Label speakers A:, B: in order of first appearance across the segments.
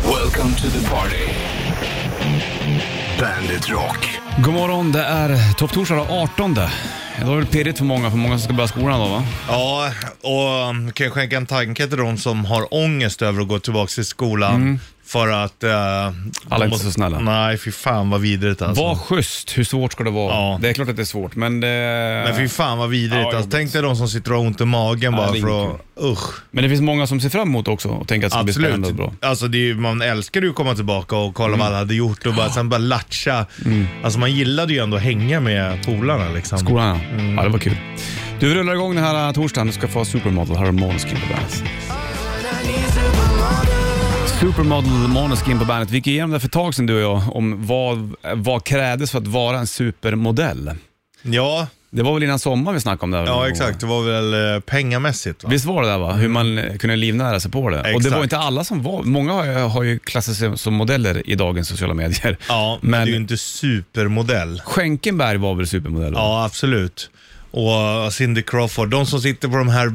A: Welcome to the party. Bandit Rock.
B: God morgon, det är topptorsdag den 18. Det var väl pirrigt för många, för många som ska börja skolan då va?
C: Alltså. Ja, och kan jag skänka en tanke till de som har ångest över att gå tillbaka till skolan för att... eh,
B: Alla Mm. är
C: de
B: inte så snälla.
C: Nej, fy fan vad vidrigt alltså.
B: Var schysst, hur svårt ska det vara?
C: Ja.
B: Det är klart att det är svårt, men det...
C: Men fy
B: Men,
C: fan vad vidrigt.
B: Ja,
C: alltså,
B: jobbigt.
C: tänk dig de som sitter och har ont i magen
B: Ja,
C: bara
B: det är
C: för
B: inget
C: att... Usch.
B: det finns många som ser fram emot också och tänker att det ska bli spännande och
C: Absolut.
B: bra. Mm.
C: Alltså det är, ju- man älskar ju att komma tillbaka och kolla vad alla hade gjort och bara, sen bara latcha. Alltså man gillade ju ändå att hänga med polarna liksom.
B: Skolan ja. Ja, det var kul. Du rullar igång den här äh, torsdagen. Du ska få Supermodel. Här har Måneskin på bandet. Supermodel Måneskin på bandet. Vi gick igenom det för ett tag sedan du och jag om vad, vad krävdes för att vara en supermodell.
C: Ja,
B: Det var väl innan sommaren vi snackade om det? här någon
C: ja
B: gång,
C: exakt.
B: va?
C: Det var väl eh, pengamässigt va?
B: Visst var det där va? Hur man eh, kunde livnära sig på det. Och det
C: Exakt.
B: var inte alla som var. Många har ju, har ju klassat sig som modeller i dagens sociala medier.
C: Ja, men,
B: Men-
C: det är ju inte supermodell.
B: Schenkenberg var väl supermodell? va?
C: Ja, absolut. Och uh, Cindy Crawford, de som sitter på de här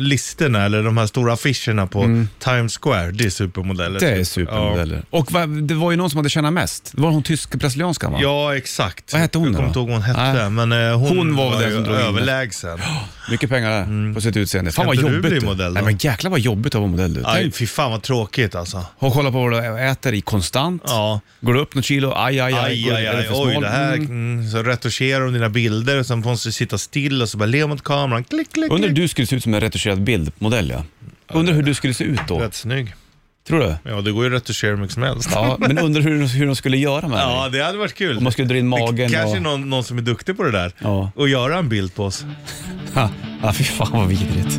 C: listorna eller de här stora affischerna på Times Square, det är supermodeller.
B: Mm. Det är
C: typ.
B: supermodeller. Och va, det var ju någon som hade tjänat mest. Det var hon tysk-brasilianskan va?
C: Ja, ja, exakt.
B: Vad hette hon
C: Jag
B: då?
C: kommer inte ihåg vad hon hette,
B: Nej.
C: men eh, hon,
B: Hon var väl den
C: ju
B: som drog in det.
C: överlägsen.
B: Mycket pengar där på sitt utseende. Fan vad
C: Mm. inte du
B: jobbigt.
C: bli
B: du.
C: modell då?
B: Nej men jäklar vad jobbigt att vara modell du.
C: Aj,
B: Tänk,
C: fy fan vad tråkigt alltså.
B: hon kollar på vad du äter i konstant.
C: Ja.
B: Går du upp något kilo, aj aj aj.
C: Aj,
B: Går-
C: aj,
B: är
C: aj,
B: för
C: oj
B: smal?
C: det här,
B: Mm.
C: mm, så retuscherar de dina bilder och sen måste du sitta still och så bara le mot kameran, klick, klick,
B: Undrar hur
C: klick.
B: du skulle se ut som en retuscherad bildmodell ja. Undrar hur du skulle se ut då.
C: Rätt snygg.
B: Tror du?
C: Ja, det går ju att retuschera hur mycket som helst.
B: Ja, men undrar hur, hur de skulle göra med
C: Ja,
B: dig.
C: det hade varit kul.
B: Om man skulle dra in
C: Det
B: magen
C: kanske är
B: och...
C: någon, någon som är duktig på det där
B: Ja.
C: och göra en bild på oss.
B: Ha, ja, fy fan vad vidrigt.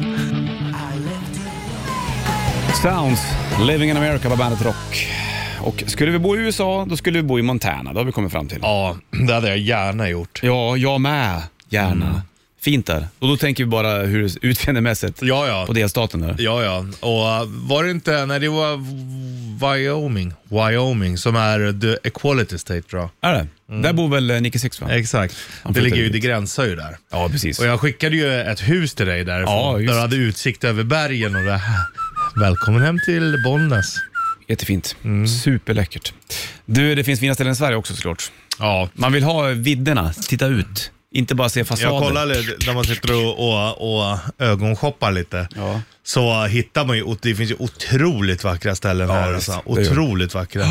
B: Sounds, Living in America på bandet Rock. Och skulle vi bo i USA, då skulle vi bo i Montana. Det har vi kommit fram till.
C: Ja, det hade jag gärna gjort.
B: Ja, jag med. Gärna. Fint där. Och då tänker vi bara hur det ser- utseendemässigt
C: Ja, ja.
B: på delstaten där.
C: Ja, ja. Och uh, var det inte, nej det var Wyoming, Wyoming som är the equality state tror jag.
B: Är det?
C: Mm.
B: Där bor väl eh, Nicky Six va?
C: Exakt.
B: Han
C: Det
B: flyttade
C: ligger ju,
B: dit.
C: det gränsar ju där.
B: Ja, precis.
C: Och jag skickade ju ett hus till dig därifrån.
B: Ja, just.
C: där du hade utsikt över bergen och det här. Välkommen hem till Bollnäs.
B: Jättefint.
C: Mm.
B: Superläckert. Du, det finns fina ställen i Sverige också såklart.
C: Ja.
B: Man vill ha vidderna, titta ut. Inte bara se fasaden.
C: Jag kollar lite, när man sitter och, och, och ögonshoppar lite.
B: Ja.
C: så hittar man ju, det finns ju otroligt vackra ställen här.
B: visst,
C: Alltså.
B: det gör det.
C: Otroligt vackra.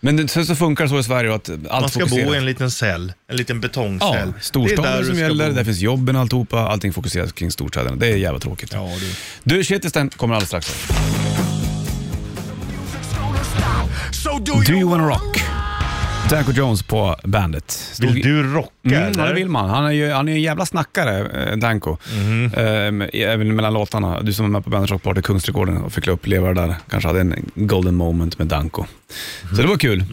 B: Men det- sen så funkar det så i Sverige att allt
C: Man ska bo
B: fokuseras.
C: i en liten cell, en liten
B: Ja,
C: betongcell. Det är där
B: storstaden
C: du
B: som
C: ska
B: gäller,
C: bo.
B: där finns jobben och alltihopa. Allting fokuseras kring storstäderna. Det är jävla tråkigt.
C: Ja, du.
B: Du, Kittelsten kommer alldeles strax. Do you wanna rock? Danko Jones på bandet. Stod-
C: Vill du rocka
B: Mm, ja,
C: eller?
B: det vill man. Han är ju, han är ju en jävla snackare, eh, Danko. Ehm, även mellan låtarna. Du som var med på Bandet Rock Party, Kungsträdgården och fick uppleva det där, kanske hade en golden moment med Danko. Så det var kul.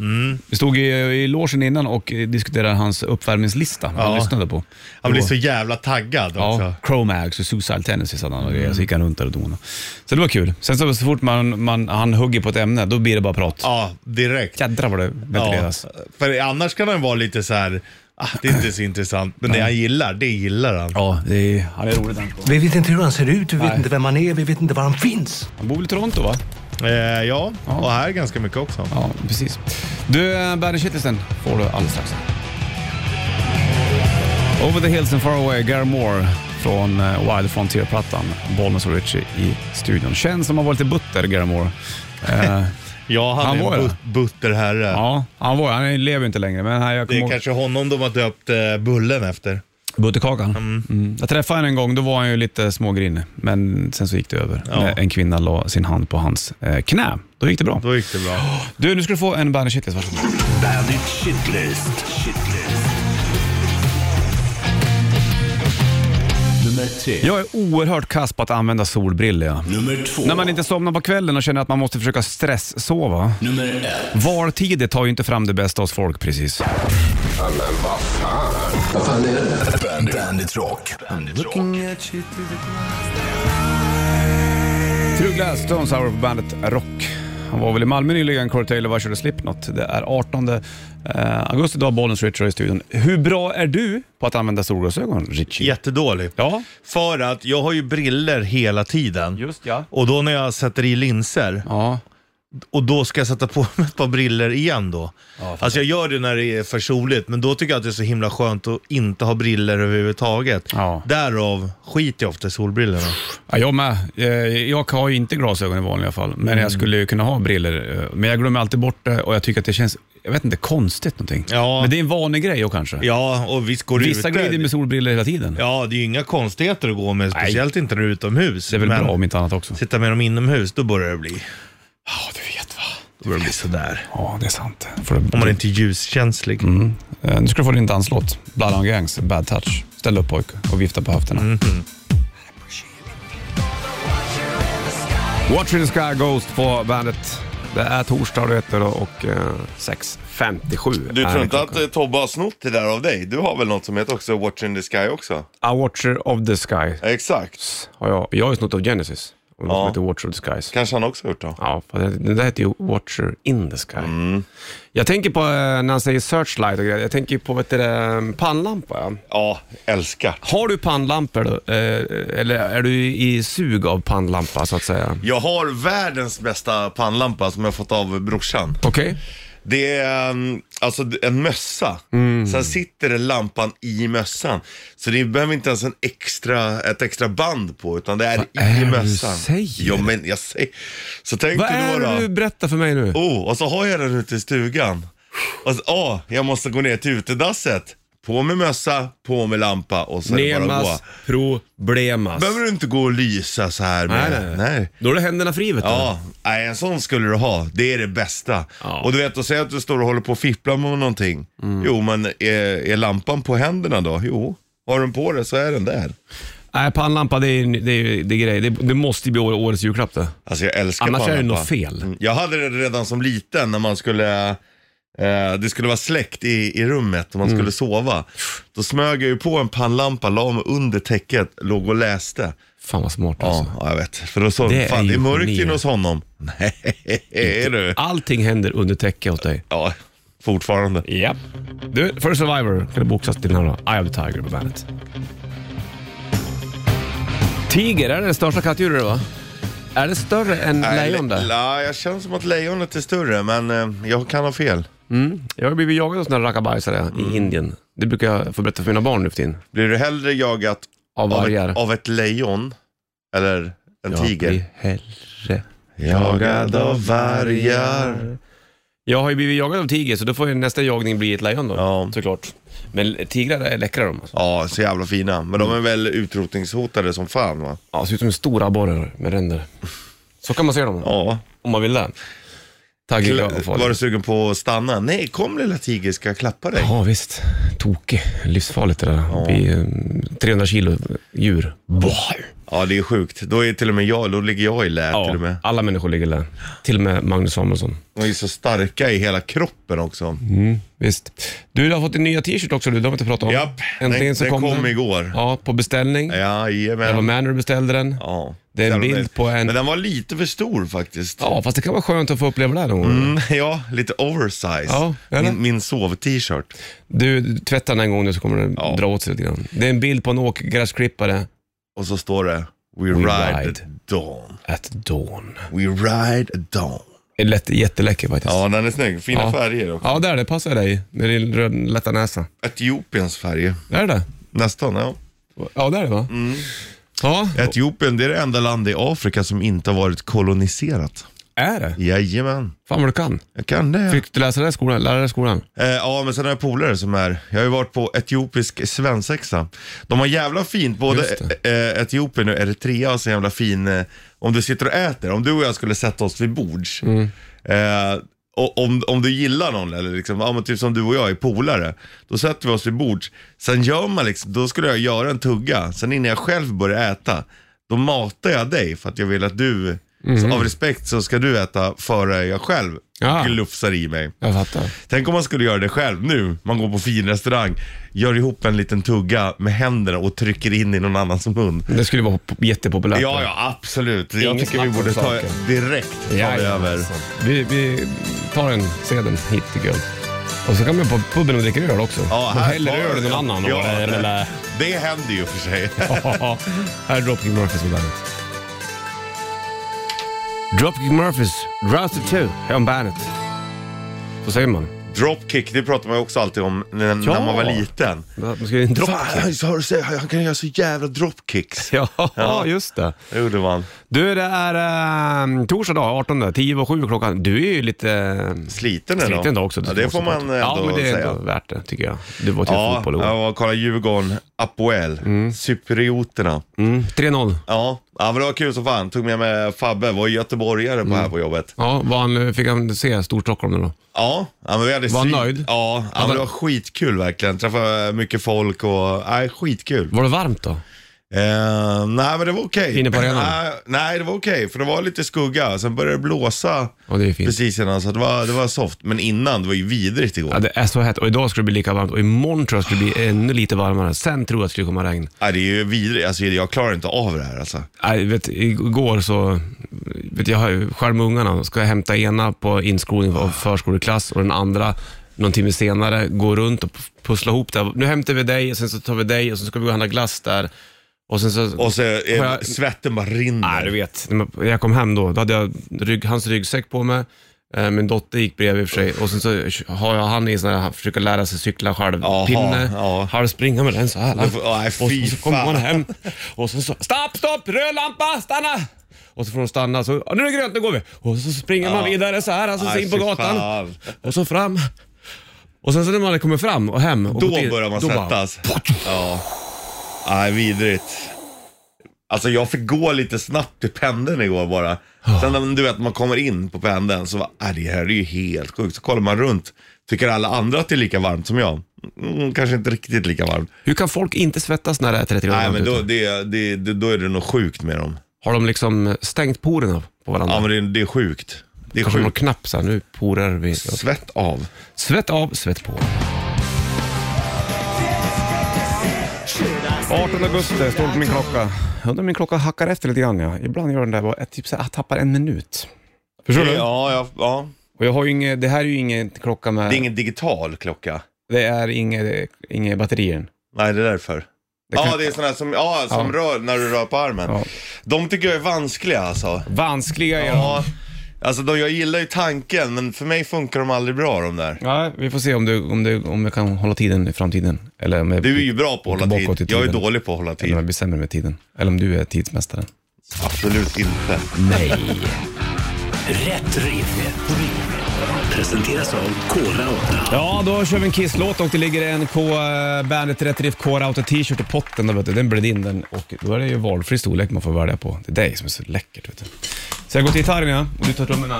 B: Vi stod i, i logen innan och eh, diskuterade hans uppvärmningslista, han
C: Ja.
B: lyssnade på.
C: Han blir
B: Det var-
C: så jävla taggad också.
B: Ja, Chromags och Suicide Tendencies hade han och grejer, så gick han runt där och donade. Så det var kul. Sen så, så fort man, man, han hugger på ett ämne, då blir det bara prat.
C: Ja, direkt.
B: Jädrar vad det ventileras.
C: För annars kan han vara lite så här. Ah, det är inte så intressant, men det han gillar, det gillar han.
B: Ja, det är, han är rolig Danko.
D: Vi vet inte hur han ser ut, vi vet
B: Nej.
D: inte vem han är, vi vet inte var han finns.
B: Han bor väl i Toronto va?
C: Eh, ja, och här ganska mycket också.
B: Ja, precis. Du, eh, Bandit Kittelsen får du alldeles strax. Over the Hills and Far Away, Gary Moore från eh, Wild Frontier-plattan. Bollnäs och Ritchie i studion. Känns som han var lite butter, Gary Moore. Eh,
C: Ja, han,
B: Han var
C: är en
B: ju
C: but- butter herre.
B: ja, han var Han lever ju inte längre, men han- jag
C: Det
B: kommer
C: är
B: ihåg-
C: kanske honom de har döpt eh, Bullen efter.
B: Butterkakan? Mm. Jag träffade henne en gång, då var han ju lite smågrinig. Men sen så gick det över.
C: Ja.
B: När En kvinna la sin hand på hans eh, knä. Då gick det bra.
C: Då gick det bra.
B: Du, nu ska du få en Bandit Shitlist. Varsågod.
A: Bandit Shitlist. Shitlist. Nummer tre.
B: Jag är oerhört kass på att använda solbrillor. ja.
A: Nummer två.
B: När man inte somnar på kvällen och känner att man måste försöka stresssova.
A: Nummer ett.
B: Valtider tar ju inte fram det bästa hos folk precis.
A: Bandit, Bandit Rock. Bandit Rock.
B: True Glass, Stones Hour på bandet Rock. Han var väl i Malmö nyligen, Corey Taylor, var körde Slipknot. Det är 18 eh, augusti idag, Bollens Richard i studion. Hur bra är du på att använda solglasögon, Richie?
C: Jättedålig.
B: Ja.
C: För att jag har ju briller hela tiden.
B: Just ja.
C: Och då när jag sätter i linser,
B: Ja,
E: Och då ska jag sätta på mig ett par briller igen då. alltså jag gör det när det är för soligt, men då tycker jag att det är så himla skönt att inte ha briller överhuvudtaget.
F: Ja.
E: Därav skiter jag ofta i solbrillorna.
F: Ja, jag med. Eh, Jag har ju inte glasögon i vanliga fall, men
B: Mm.
F: jag skulle ju kunna ha briller. eh, Men jag glömmer alltid bort det och jag tycker att det känns, jag vet inte, konstigt någonting.
E: Ja.
F: Men det är en vanlig grej också kanske.
E: Ja, och visst går det
F: Vissa
E: ute.
F: glider med solbriller hela tiden.
E: Ja, det är ju inga konstigheter att gå med, speciellt inte när du är utomhus.
F: Det är väl
E: men
F: bra om inte annat också.
E: sitta med dem inomhus, då börjar det bli,
F: Ja, du vet va.
E: då börjar det bli sådär.
F: Ja, det är sant. Får du...
E: Om man inte är ljuskänslig.
F: Eh, Nu ska du få din danslåt. Blood on Gangs, Bad Touch. Ställ upp pojke och vifta på höfterna. Watch in the sky Ghost på bandet. Det är torsdag du vet du, och eh, 6.57
C: Du
F: är
C: tror inte
F: klockan.
C: att eh, Tobbe har snott det där av dig? Du har väl något som heter också Watch in the Sky också?
B: A Watcher of the Sky
C: Exakt.
B: har jag. Jag har ju snott av Genesis. Och något
C: Ja.
B: som heter Watcher of the Skies.
C: Kanske han också har gjort då?
B: Ja, för det- den där heter ju Watcher in the Sky. Jag tänker på, eh, när han säger searchlight och grejer, jag tänker ju på vet du, det, mm, pannlampa. ja.
C: Ja, älskar.
B: Har du pannlampor då? Eh, Eller är du i sug av pannlampa så att säga?
C: Jag har världens bästa pannlampa som jag fått av brorsan.
B: Okej.
C: Det är en, alltså en mössa. Sen sitter det lampan i mössan. Så det behöver inte ens en extra, ett extra band på, utan det är
B: är
C: i
B: det du
C: mössan.
B: säger?
C: Jo, men jag säger. Så tänk
B: Vad
C: dig
B: är
C: då.
B: det du
C: då.
B: berättar för mig nu?
C: Oh, och så har jag den ute i stugan. Och så, åh, jag måste gå ner till utedasset. På med mössa, på med lampa och så är det bara att gå.
B: Nemas problemas.
C: Behöver du inte gå och lysa så här med.
B: Nej, nej, nej. Då är det händerna fri vet du.
C: Ja, nej, en sån skulle du ha. Det är det bästa. Och du vet, att säga att du står och håller på och fipplar med någonting.
B: Mm.
C: Jo, men är, är lampan på händerna då? Jo. Har du den på dig så är den där.
B: Nej, pannlampa det är, det är, det är grej. Det, det måste ju bli å- årets julklapp det.
C: Alltså jag älskar
B: Annars är det
C: pannlampa.
B: något fel.
C: Mm. Jag hade det redan som liten när man skulle, eh, det skulle vara släkt i, i rummet och man
B: Mm.
C: skulle sova. Då smög jag ju på en pannlampa, la mig under täcket, låg och läste.
B: Fan vad smart alltså.
C: Ja, ja, jag vet. För då såg
B: Det är
C: fan det
B: ju
C: är mörkt
B: geni.
C: inne hos honom. Nej, är du?
B: Allting händer under täcket åt dig.
C: Ja, fortfarande.
B: Ja. Du, för Survivor kan du boxas till den här då. Eye of the Tiger på bandet. Tiger, är det det största kattdjuret va? Är det större än lejon
C: le-
B: där?
C: la- jag känner som att lejonet är större, men eh, jag kan ha fel.
B: Jag har blivit jagad av sådana rackabajsare
C: Mm.
B: i Indien. Det brukar jag få berätta för mina barn nu för tiden.
C: Blir du hellre jagat
B: Av
C: av
B: vargar.
C: ett, av ett lejon eller en tiger?
B: Herre.
C: Jagad av vargar.
B: Jag har ju blivit jagad av tiger, så då får ju nästa jagning bli ett lejon då.
C: Ja.
B: Såklart. Men tigrar är läckra de. Alltså.
C: Ja, så jävla fina. Men
B: Mm.
C: de är väl utrotningshotade som fan va?
B: Ja, ser ut som stora abborrar med ränder. Så kan man se dem,
C: Ja.
B: om man vill det. Taggiga och
C: Var du
B: farliga.
C: sugen på att stanna? Nej, kom lilla tiger, ska jag klappa dig?
B: Ja, visst. Tokig. Livsfarligt det där. Bli, eh, 300 kilo djur.
C: Ja, det är sjukt. Då är till och med jag, då ligger jag i lä till och med.
B: Ja, alla människor ligger där. Till och med Magnus Samuelsson.
C: De är så starka i hela kroppen också.
B: Mm. Visst. Du, du har fått din nya t-shirt också, du. det har vi inte pratat om.
C: Japp,
B: Äntligen
C: den,
B: så
C: den
B: kom,
C: kom
B: den.
C: igår.
B: Ja, på beställning. Jag var
C: Jajamän.
B: med när du beställde den.
C: Ja.
B: Det är en
C: Jävla
B: bild
C: nice.
B: på en-
C: Men den var lite för stor faktiskt.
B: Ja, fast det kan vara skönt att få uppleva det här någon gång.
C: Mm, ja, lite oversize.
B: Ja, eller?
C: min min sov-t-shirt.
B: Du, tvätta den en gång nu så kommer den
C: Ja.
B: dra åt sig lite grann. Det är en bild på en åkgräsklippare
C: Och så står det We, ride,
B: ride.
C: dawn.
B: at dawn.
C: We ride dawn.
B: Det är lätt, jätteläcker faktiskt. Ja.
C: Ja, den är snygg. Fina
B: Ja.
C: färger också.
B: ja, där det passar dig med din röd, lätta näsa.
C: Etiopiens färger.
B: Är det
C: Nästan, ja.
B: Ja, där är det va?
C: Mm.
B: Ja,
C: Etiopien, det är det enda land i Afrika som inte har varit koloniserat.
B: är det?
C: Jajamän,
B: Fan vad du kan.
C: jag kan det.
B: Fick du läsa det i skolan? Lära dig i skolan?
C: Eh, ja, men sen har jag polare som är, jag har ju varit på etiopisk svensexa. De har jävla fint, både
B: Just
C: eh, Etiopien och Eritrea har så jävla fin, eh, om du sitter och äter, om du och jag skulle sätta oss vid bords. Eh, och om, om du gillar någon, eller liksom, ja, men typ som du och jag är polare, då sätter vi oss vid bords. Sen gör man liksom, då skulle jag göra en tugga, sen innan jag själv börjar äta, då matar jag dig för att jag vill att du, så av respekt så ska du äta före jag själv
B: Ja.
C: glufsar i mig.
B: Jag fattar.
C: Tänk om man skulle göra det själv nu. Man går på fin restaurang, gör ihop en liten tugga med händerna och trycker in i någon annans mun.
B: Det skulle vara pop- jättepopulärt.
C: Ja, ja, absolut. Jag
B: Inget
C: tycker vi
B: snack om
C: borde ta
B: saken.
C: direkt ta
B: Ja, alltså.
C: det
B: ja,
C: över.
B: Vi, vi tar en sedeln hit tycker jag. Och så kan man på puben och dricka öl också.
C: Ja,
B: man
C: här
B: häller
C: tar-
B: öl i någon
C: ja,
B: annan.
C: ja,
B: eller, eller,
C: Det händer ju för sig.
B: här är Dropkick Murphys på bandet. Dropkick Murphys, Rousted 2, här om bandet. Så säger man.
C: Dropkick, det pratar man ju också alltid om när, när man var liten.
B: Man ska ju en drop.
C: Fan, så har du sett? han kan göra så jävla dropkicks.
B: Ja, just det.
C: Det gjorde man.
B: Du, det är ehm, torsdag dag, 18. 10 och 7 klockan. Du är ju lite ehm,
C: Sliten ändå.
B: sliten idag också.
C: Ja, det får man ändå
B: Ja, men det är
C: säga.
B: ändå värt det tycker jag. Du var till
C: Ja,
B: fotboll Mm.
C: jag
B: igår.
C: var och kollade Djurgården, Apoel, Cyprioterna.
B: Mm, 3-0.
C: Ja. ja, men det var kul som fan. Tog med mig Fabbe, var göteborgare på
B: Mm.
C: här på jobbet.
B: Ja, var han, fick han se Storstockholm nu då?
C: Ja, ja men vi hade
B: Var han
C: svin-
B: nöjd?
C: Ja, ja men det var skitkul verkligen. Träffade mycket folk och, nej skitkul.
B: Var det varmt då?
C: Eh, nej men det var okej.
B: Inne på arenan?
C: Nej, nej det var okej, för det var lite skugga. Sen började det blåsa
B: Ja, det är fint.
C: precis innan, så det var, det var soft. Men innan, det var ju vidrigt igår.
B: Ja, det är så hett och idag ska det bli lika varmt och imorgon tror jag ska det bli ännu lite varmare. Sen tror jag att det skulle komma regn.
C: Nej, det är ju vidrigt. Alltså, jag klarar inte av det här alltså.
B: Nej, vet, igår så, vet, jag har ju själv med ungarna, ska jag hämta ena på inskolning av förskoleklass och den andra någon timme senare, gå runt och pussla ihop det. Nu hämtar vi dig och sen så tar vi dig och sen ska vi gå och handla glass där. Och sen så...
C: Och så är,
B: Har jag-
C: svetten bara rinner.
B: Nej, du vet. När jag kom hem då, då hade jag rygg, hans ryggsäck på mig. Eh, Min dotter gick bredvid i och för sig och sen så har jag han i sån här, han försöker lära sig cykla själv,
C: Jaha,
B: pinne,
C: ja.
B: halvspringa med den så här.
C: Det får- nej,
B: och
C: fy
B: sen så kommer
C: fan.
B: man hem och sen så, stopp, stopp, röd lampa, stanna! Och så får de stanna, så, "Ja, nu är det grönt, nu går vi. Och så springer man vidare så här, alltså så
C: Aj,
B: in på
C: fy
B: gatan.
C: fan.
B: Och så fram. Och sen så när man kommer fram och hem. Och
C: Då
B: gått in,
C: börjar man
B: då bara-
C: svettas. Ja. Nej, vidrigt. Alltså jag fick gå lite snabbt till pendeln igår bara. Sen när du vet, man kommer in på pendeln så bara, "Aj, det här är ju helt sjukt. Så kollar man runt, tycker alla andra att det är lika varmt som jag? Mm, kanske inte riktigt lika varmt.
B: Hur kan folk inte svettas när det är 30 grader
C: Nej,
B: varmt
C: men då,
B: ute?
C: det, det, det, då är det nog sjukt med dem.
B: Har de liksom stängt porerna på varandra?
C: Ja, men det, det är sjukt. Det är
B: Kanske någon
C: sjukt.
B: knapp så här, nu porar vi.
C: Svett av.
B: Svett av, svett på. 18 augusti, står det på min klocka. Undrar om min klocka hackar efter lite grann. Ja. Ibland gör den där, bara, typ så här, jag tappar en minut. Förstår du?
C: Ja, ja, ja.
B: Och jag har ju inget, det här är ju ingen klocka med,
C: Det är ingen digital klocka.
B: det är inget, inget batterier.
C: Nej, det är därför.
B: kan-
C: Ja, det är sådana här som, ja, som
B: Ja.
C: rör när du rör på armen.
B: Ja.
C: De tycker jag är vanskliga alltså.
B: Vanskliga är de.
C: Ja, alltså de, jag gillar ju tanken, men för mig funkar de aldrig bra de där.
B: Ja, vi får se om, du, om, du, om jag kan hålla tiden i framtiden. Eller om jag,
C: Du är ju bra på att hålla
B: Bakåt i
C: tid. Jag är
B: tiden.
C: dålig på att hålla
B: Eller om
C: tid.
B: jag blir sämre med tiden. Eller om du är tidsmästaren.
C: Absolut inte.
A: Rätt riff. Presenteras av Kora 8.
B: Ja, då kör vi en Kiss-låt och det ligger en K eh, Bandet Rätt Riff Core Auto t-shirt i potten. Då, vet du. Den blir din den och då är det ju valfri storlek man får välja på. Det är dig som är så läckert. Vet du. Så jag går till gitarren ja, och du tar trummorna.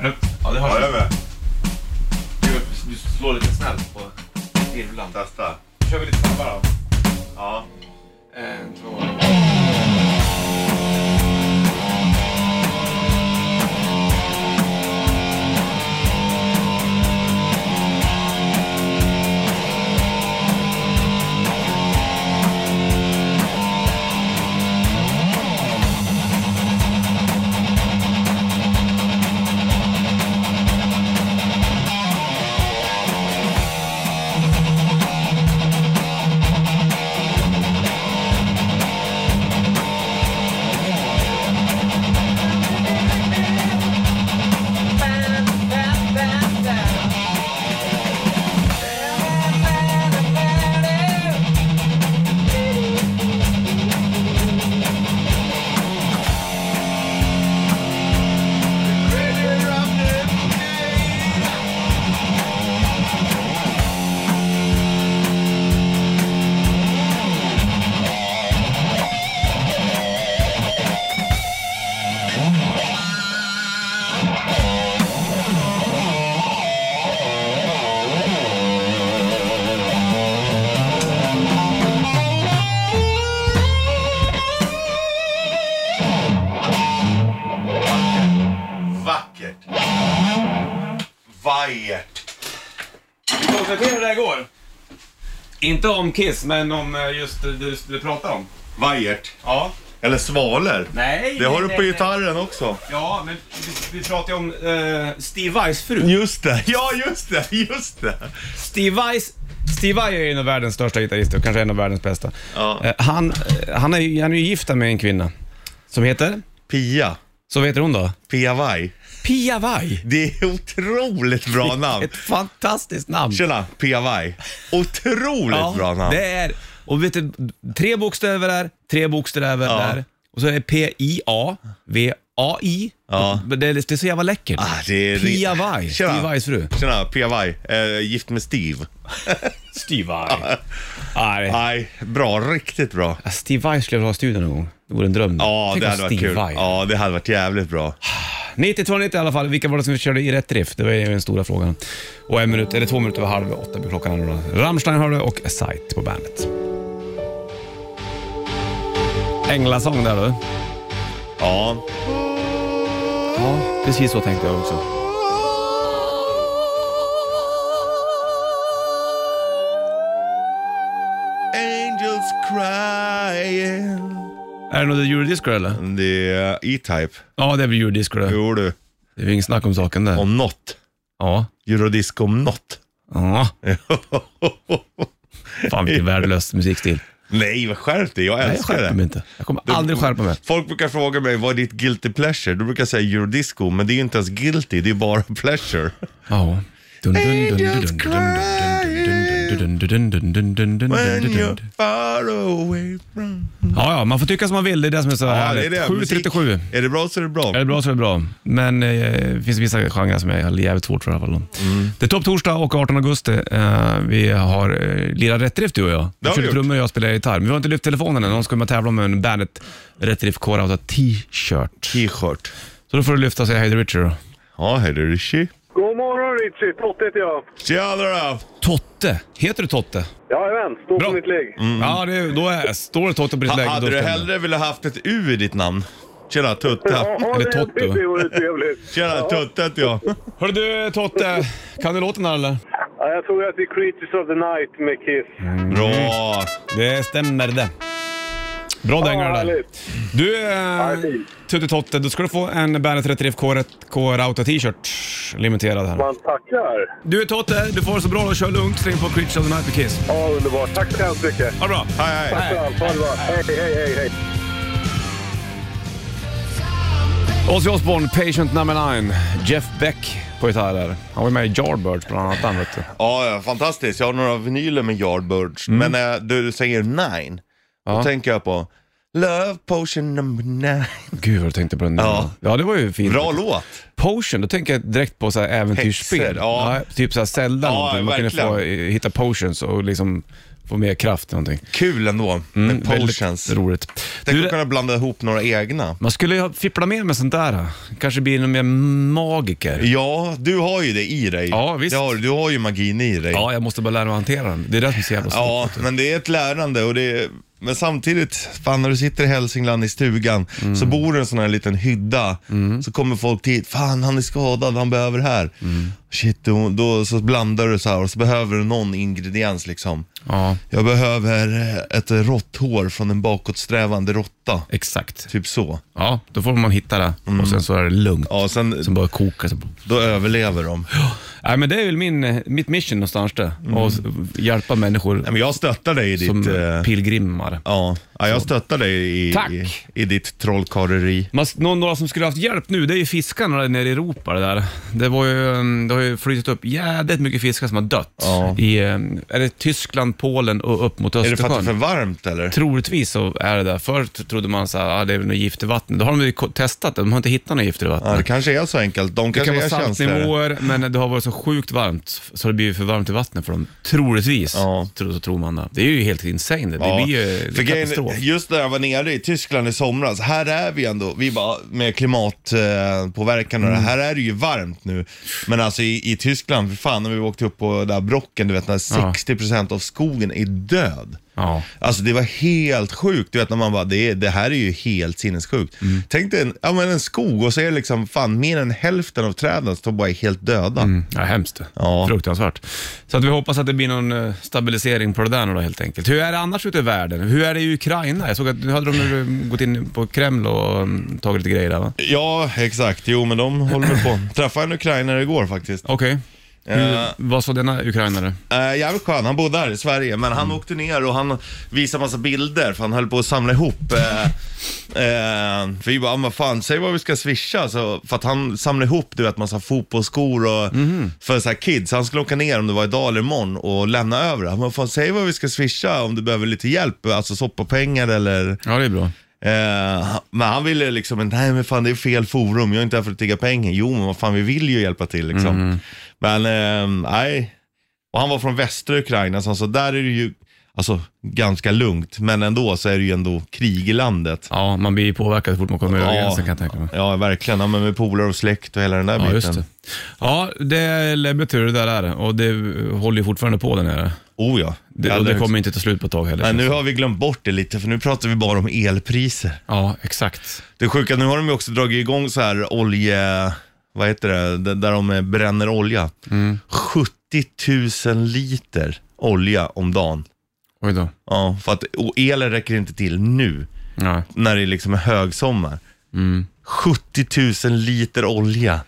B: Är du- Ja, det hörs.
C: med.
B: Du, du slår lite snällt på virvlan.
C: Testa.
B: Då kör vi lite snabbare då.
C: Ja.
B: En, två.
C: Vackert. Vajert.
B: Vi konstaterar hur det här går. Inte om Kiss, men om eh, just det du, du pratar om.
C: Vajert.
B: Ja.
C: Eller svaler.
B: Nej,
C: Det har du
B: nej,
C: på
B: nej,
C: gitarren också.
B: Ja, men vi, vi pratar ju om eh, Steve Vais fru.
C: Just det. Ja, just det. Just det.
B: Steve Vais Steve Vai är en av världens största gitarrister och kanske en av världens bästa.
C: Ja.
B: Eh, han, eh, han, är, ju- han är ju gift med en kvinna som heter
C: Pia.
B: Så vad heter hon då?
C: Pia Vai.
B: Pia Vai.
C: Det är otroligt bra namn.
B: Ett fantastiskt namn.
C: Tjena, Pia Vai. Otroligt bra namn.
B: det är... Och vet du, tre bokstäver där, tre bokstäver
C: Ja.
B: där. Och så är det P-I-A-V-A-I.
C: Ja.
B: Men Det, är- det är så jävla läckert.
C: Ah, det är...
B: Pia Vai,
C: Tjena.
B: Steve Vais fru.
C: Tjena, Pia Vai. Eh, gift med Steve.
B: Steve Vai. Nej.
C: Nej, bra. Riktigt bra.
B: Ah, Steve Vai skulle jag vilja ha i studion någon gång. Det vore en dröm.
C: Ja,
B: Tänk
C: det
B: om
C: hade varit
B: Steve
C: kul.
B: Vai.
C: Ja, det hade varit jävligt bra.
B: 9290 i alla fall. Vilka var det som körde i rätt drift? Det var ju den stora frågan. Och en minut, eller två minuter över halv åtta blir klockan. här nu då. Rammstein hörde och Sight på bandet. Änglasång där du.
C: Ja,
B: Ja, precis så tänkte jag också.
C: Angels crying.
B: Är det något eurodisco eller?
C: Det är E-Type.
B: Ja, det är väl eurodisco det.
C: Jo du,
B: Det är väl inget snack om saken där.
C: om något.
B: Ja.
C: Eurodisco om något.
B: Ja. Fan vilken värdelös musikstil.
C: Nej, vad skärp dig. Jag
B: Nej, jag
C: älskar
B: skärper
C: det.
B: mig inte. Jag kommer aldrig skärpa mig.
C: Folk brukar fråga mig, vad är ditt guilty pleasure? Då brukar jag säga eurodisco, men det är ju inte ens guilty, det är bara pleasure.
B: Ja.
C: Angels When you're far away from...
B: Ja, ja, man får tycka som man vill. Det är det som är så härligt. 7.37.
C: Musik, Är det bra så är det bra.
B: Är det bra så är det bra. Men eh, det finns vissa genrer som jag har jävligt svårt för i alla fall.
C: Mm.
B: Det är topp torsdag och 18 augusti. Eh, vi har eh, lirat rätt drift du och jag.
C: Det
B: Du
C: har vi
B: körde
C: gjort.
B: trummor och jag spelade gitarr. Men vi har inte lyft telefonen än. Någon ska med och tävla om en Bandet rätt drift Core t-shirt.
C: T-shirt.
B: Så då får du lyfta och säga hej till Richard då.
C: Ja, här är det Rishi.
G: God morgon Richie, Totte heter jag.
C: Tjena då!
B: Totte. Heter du Totte?
G: Jajamän, står
B: Bra. Mm.
G: på mitt lägg.
B: Ja, det, då är, står det Totte på ditt
C: Mm.
B: läge.
C: Ha, hade
B: då
C: du
B: stämmer.
C: hellre velat haft ett U i ditt namn? Tjena
G: Ja,
C: Tutta.
G: ja,
B: Eller
G: det-
B: Totto.
G: Det vore trevligt.
C: Tjena Tutta heter jag.
B: Hörru du Totte, kan du låten här eller?
G: Ja, jag tror att det är Creatures of the Night med Kiss.
C: Bra!
B: Det stämmer det. Bra dänga det där.
G: härligt.
B: Du, eh,
G: fint.
B: Tutte Totte, då ska du få en Bandet 33 K-Rauta t-shirt. Limiterad här.
G: Man tackar.
B: Du Totte, du får det så bra och kör lugnt. Släng på Creatures of the Night with Kiss.
G: Ja, underbart. Tack så hemskt mycket.
B: Ha det bra.
C: Hej hej!
G: Tack för allt. Ha det bra. Hej, hej, hej, hej.
B: Ozzy Osbourne, Patient number 9. Jeff Beck på gitarr där. Han var ju med i Yardbirds bland annat. Han, vet du.
C: Ja, ja, fantastiskt. Jag har några vinyler med Yardbirds.
B: Mm.
C: Men när du säger nine, då tänker jag på Love Potion number nine.
B: Gud vad du tänkte på den där.
C: Ja.
B: ja, det var ju fint.
C: Bra låt.
B: Potion, då tänker jag direkt på så här äventyrsspel.
C: Häxor, ja.
B: typ så här Zelda
C: Ja,
B: någonting. Man
C: verkligen.
B: kunde få, eh, hitta potions och liksom få mer kraft eller någonting.
C: Kul ändå med potions.
B: Mm, Väldigt roligt.
C: Tänk
B: Du,
C: att kunna blanda ihop några egna.
B: man skulle ju ha- fippla med med sånt där. Kanske bli någon mer magiker.
C: Ja, du har ju det i dig.
B: Ja, visst.
C: Det har, du. du har ju magin i dig.
B: Ja, jag måste bara lära mig att hantera den. Det är det som är så jävla svårt.
C: Ja, men det är ett lärande och det är, men samtidigt, fan när du sitter i Hälsingland i stugan
B: Mm.
C: så bor det en sån här liten hydda. Så kommer folk dit, fan han är skadad, han behöver det här.
B: Mm.
C: Shit, då, då så blandar du så här och så behöver du någon ingrediens liksom.
B: Ja,
C: Jag behöver eh, ett råtthår från en bakåtsträvande råtta.
B: exakt.
C: Typ så.
B: Ja, då får man hitta det
C: Mm.
B: och sen så är det lugnt.
C: Ja, sen
B: Sen bara koka. Så...
C: då överlever de. Nej,
B: Nej, men det är väl min, mitt mission någonstans där. Att s- hjälpa människor
C: Mm. men jag stöttar dig i ditt...
B: som
C: eh,
B: pilgrimmar.
C: ja. ja, jag stöttar dig i,
B: Tack.
C: i, i ditt trollkarleri.
B: Man, någon, några som skulle haft hjälp nu, det är ju fiskarna där nere i Europa. Det, där. det, var ju, um, det har ju flyttat upp jädrigt mycket fiskar som har dött.
C: Ja.
B: I, um, är det Tyskland, Polen och upp mot
C: Är det för
B: Östersjön?
C: att det är för varmt eller?
B: Troligtvis så är det där. Förr trodde man så här, ah, det är väl något gift i vattnet. Då har de ju ko- testat det, de har inte hittat något gift i vattnet.
C: Ja, det kanske är så enkelt. De
B: det kan
C: kanske
B: vara
C: är känsligare.
B: saltnivåer, men det har varit så sjukt varmt så det blir ju för varmt i vattnet för dem. Troligtvis,
C: Ja.
B: tro, så tror man det. Det är ju helt insane. Det,
C: Ja,
B: det blir ju
C: för grejen-
B: katastrof.
C: just när jag var nere i Tyskland i somras, här är vi ändå, vi bara med klimatpåverkan och det
B: Mm.
C: här är det ju varmt nu. Men alltså i, i Tyskland, för fan när vi åkte upp på den där brocken, du vet när 60% av skogen är död.
B: Ja.
C: Alltså det var helt sjukt, du vet när man bara, det, är- det här är ju helt sinnessjukt. Tänk dig en, ja, men en skog och så är det liksom, fan mer än hälften av träden står bara är helt döda.
B: Ja, hemskt.
C: Ja.
B: Fruktansvärt. Så att vi hoppas att det blir någon eh, stabilisering på det där nu då, helt enkelt. Hur är det annars ute i världen? Hur är det i Ukraina? Jag såg att nu hade de eh, gått in på Kreml och mm, tagit lite grejer där va?
C: Ja, exakt. Jo, men de håller väl på. Träffade en ukrainare igår faktiskt.
B: Okej. Hur, vad sa denna ukrainare?
C: Eh, jävligt skön, han bodde här i Sverige men han åkte ner och han visade massa bilder för han höll på att samla ihop. Eh, eh, för vi bara, "Ah, men fan säg vad vi ska swisha. Så, för att han samlade ihop du vet massa fotbollsskor och för så här kids. Han skulle åka ner om det var idag eller imorgon och lämna över det. Han bara, fan säg vad vi ska swisha om du behöver lite hjälp, alltså soppapengar eller
B: Ja, det är bra.
C: Eh, men han ville liksom, nej men fan det är fel forum, jag är inte här för att tigga pengar. Jo men vad fan vi vill ju hjälpa till liksom.
B: Mm.
C: Men eh, nej. Och han var från västra Ukraina så han sa, där är det ju alltså, ganska lugnt. Men ändå så är det ju ändå krig i landet.
B: Ja, man blir ju påverkad så fort man kommer över
C: Ja.
B: gränsen kan jag tänka mig.
C: Ja verkligen, ja, men med polare och släkt och hela den där
B: Ja,
C: biten.
B: just det. Ja, det är läbbigt hur det där är och det håller ju fortfarande på där nere.
C: Oh ja.
B: Det, och
C: Allra
B: det
C: högst-
B: kommer inte ta slut på ett tag heller.
C: Nej, nu har vi glömt bort det lite för nu pratar vi bara om elpriser.
B: Ja, exakt.
C: Det sjuka, nu har de ju också dragit igång så här olje... Vad heter det? D- Där de eh, bränner olja. 70 000 liter olja om dagen.
B: Oj då.
C: Ja, för att och elen räcker inte till nu
B: Ja.
C: när det liksom är högsommar. Mm. 70 000 liter olja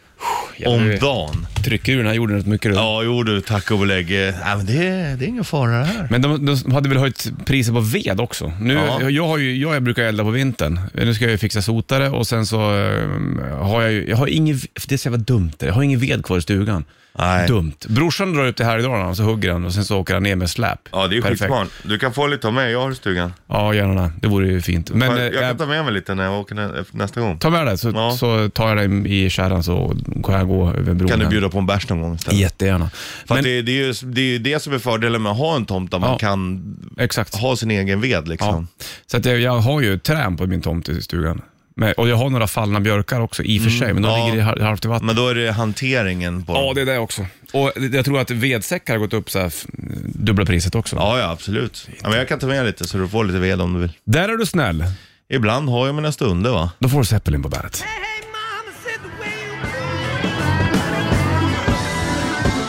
C: om
B: jävlar.
C: dagen.
B: Trycker du den här jorden rätt mycket? Du?
C: Ja, jo du, tack och belägg. Eh, Nej, men det, det är ingen fara det här.
B: Men de, de hade väl höjt priset på ved också? Nu,
C: Ja.
B: jag, har ju, jag brukar elda på vintern. Nu ska jag ju fixa sotare och sen så ehm, har jag ju, jag har ingen, det är så jävla dumt det. Jag har ingen ved kvar i stugan.
C: Nej.
B: Dumt. Brorsan drar upp det här idag och så hugger han och sen så åker han ner med släp.
C: Ja, det är
B: Perfekt.
C: skitsmart. Du kan få lite av mig, jag har i stugan.
B: Ja, gärna. Det vore ju fint. Men
C: Jag,
B: eh,
C: jag kan
B: jag,
C: ta med mig lite när jag åker nä- nästa gång.
B: ta med det så,
C: Ja.
B: så tar jag dig i kärran så kan jag gå över bron.
C: Kan du
B: här.
C: bjuda på en bärs någon gång istället?
B: Jättegärna.
C: För
B: Men,
C: att det, det, är ju, det är ju det som är fördelen med att ha en tomt där man
B: Ja.
C: kan
B: exakt.
C: ha sin egen ved liksom.
B: Ja. Så att jag, jag har ju trän på min tomt i stugan. Men, och jag har några fallna björkar också i och för sig, men de
C: Mm, ja.
B: ligger i har- halvt i vatten.
C: Men då är det hanteringen på
B: Ja, det är det också. Och det- jag tror att vedsäckar har gått upp så här, f- dubbla priset också.
C: Ja, ja absolut. Ja, men jag kan ta med lite så du får lite ved om du vill.
B: Där är du snäll.
C: Ibland har jag mina stunder va.
B: Då får du Zeppelin på bäret.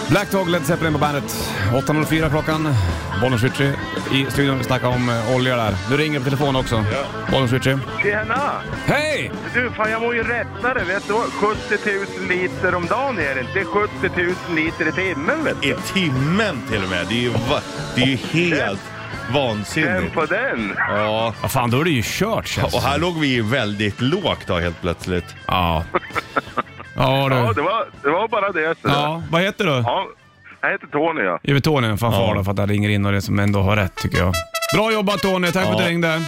B: Black Dog, Led Zeppelin på bandet. 8.04 klockan. Bollnäs Ritchie i studion. Vi snackar om eh, olja där. Nu ringer det på telefon också. Bollnäs Ritchie.
G: Tjena!
B: Hej!
G: Du, fan jag var ju rättare, vet du vad? 70 000 liter om dagen är det inte. Det är 70 000 liter i timmen, vet
C: I
G: du.
C: timmen till och med. Det är ju, va- det är ju helt
G: Den
C: vansinnigt.
G: på den.
C: Ja.
B: Vad fan, då är det ju kört känns det
C: Och
B: som.
C: här låg vi ju väldigt lågt då helt plötsligt.
B: Ja. Ja
G: Ja,
B: du.
G: det var, det var bara det. Så.
B: Ja, vad heter du?
G: ja. Jag heter Tony, ja.
B: Ge mig Tony en fanfar
C: Ja.
B: då för att han ringer in och det som ändå har rätt tycker jag. Bra jobbat Tony, tack för att du
C: Ja.
B: ringde.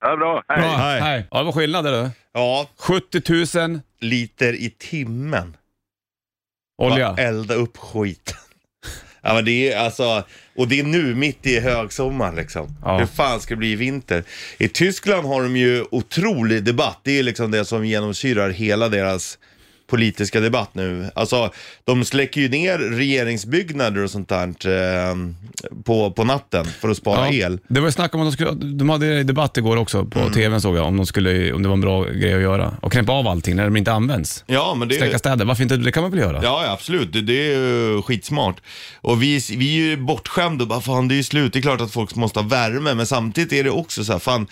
G: Ja, bra. Hej.
B: Bra.
C: Hej.
B: Ja, det var skillnad du.
C: Ja,
B: 70 000
C: liter i timmen.
B: olja.
C: Bara elda upp skiten. Ja, men det är alltså, och det är nu mitt i högsommar liksom.
B: Ja.
C: Hur fan ska det bli i vinter? I Tyskland har de ju otrolig debatt. Det är liksom det som genomsyrar hela deras politiska debatt nu. Alltså, de släcker ju ner regeringsbyggnader och sånt där eh, på, på natten för att spara el. Mm.
B: Det var ju snack om att de skulle, de hade debatt igår också på tvn såg jag, om, de skulle, om det var en bra grej att göra. Och knäppa av allting när de inte används.
C: Ja, men det
B: Släcka städer, varför inte? Det kan man väl göra?
C: Ja, ja absolut. Det, det är ju skitsmart. Och vi, vi är ju bortskämda och bara, fan det är ju slut. Det är klart att folk måste ha värme, men samtidigt är det också så här, fan,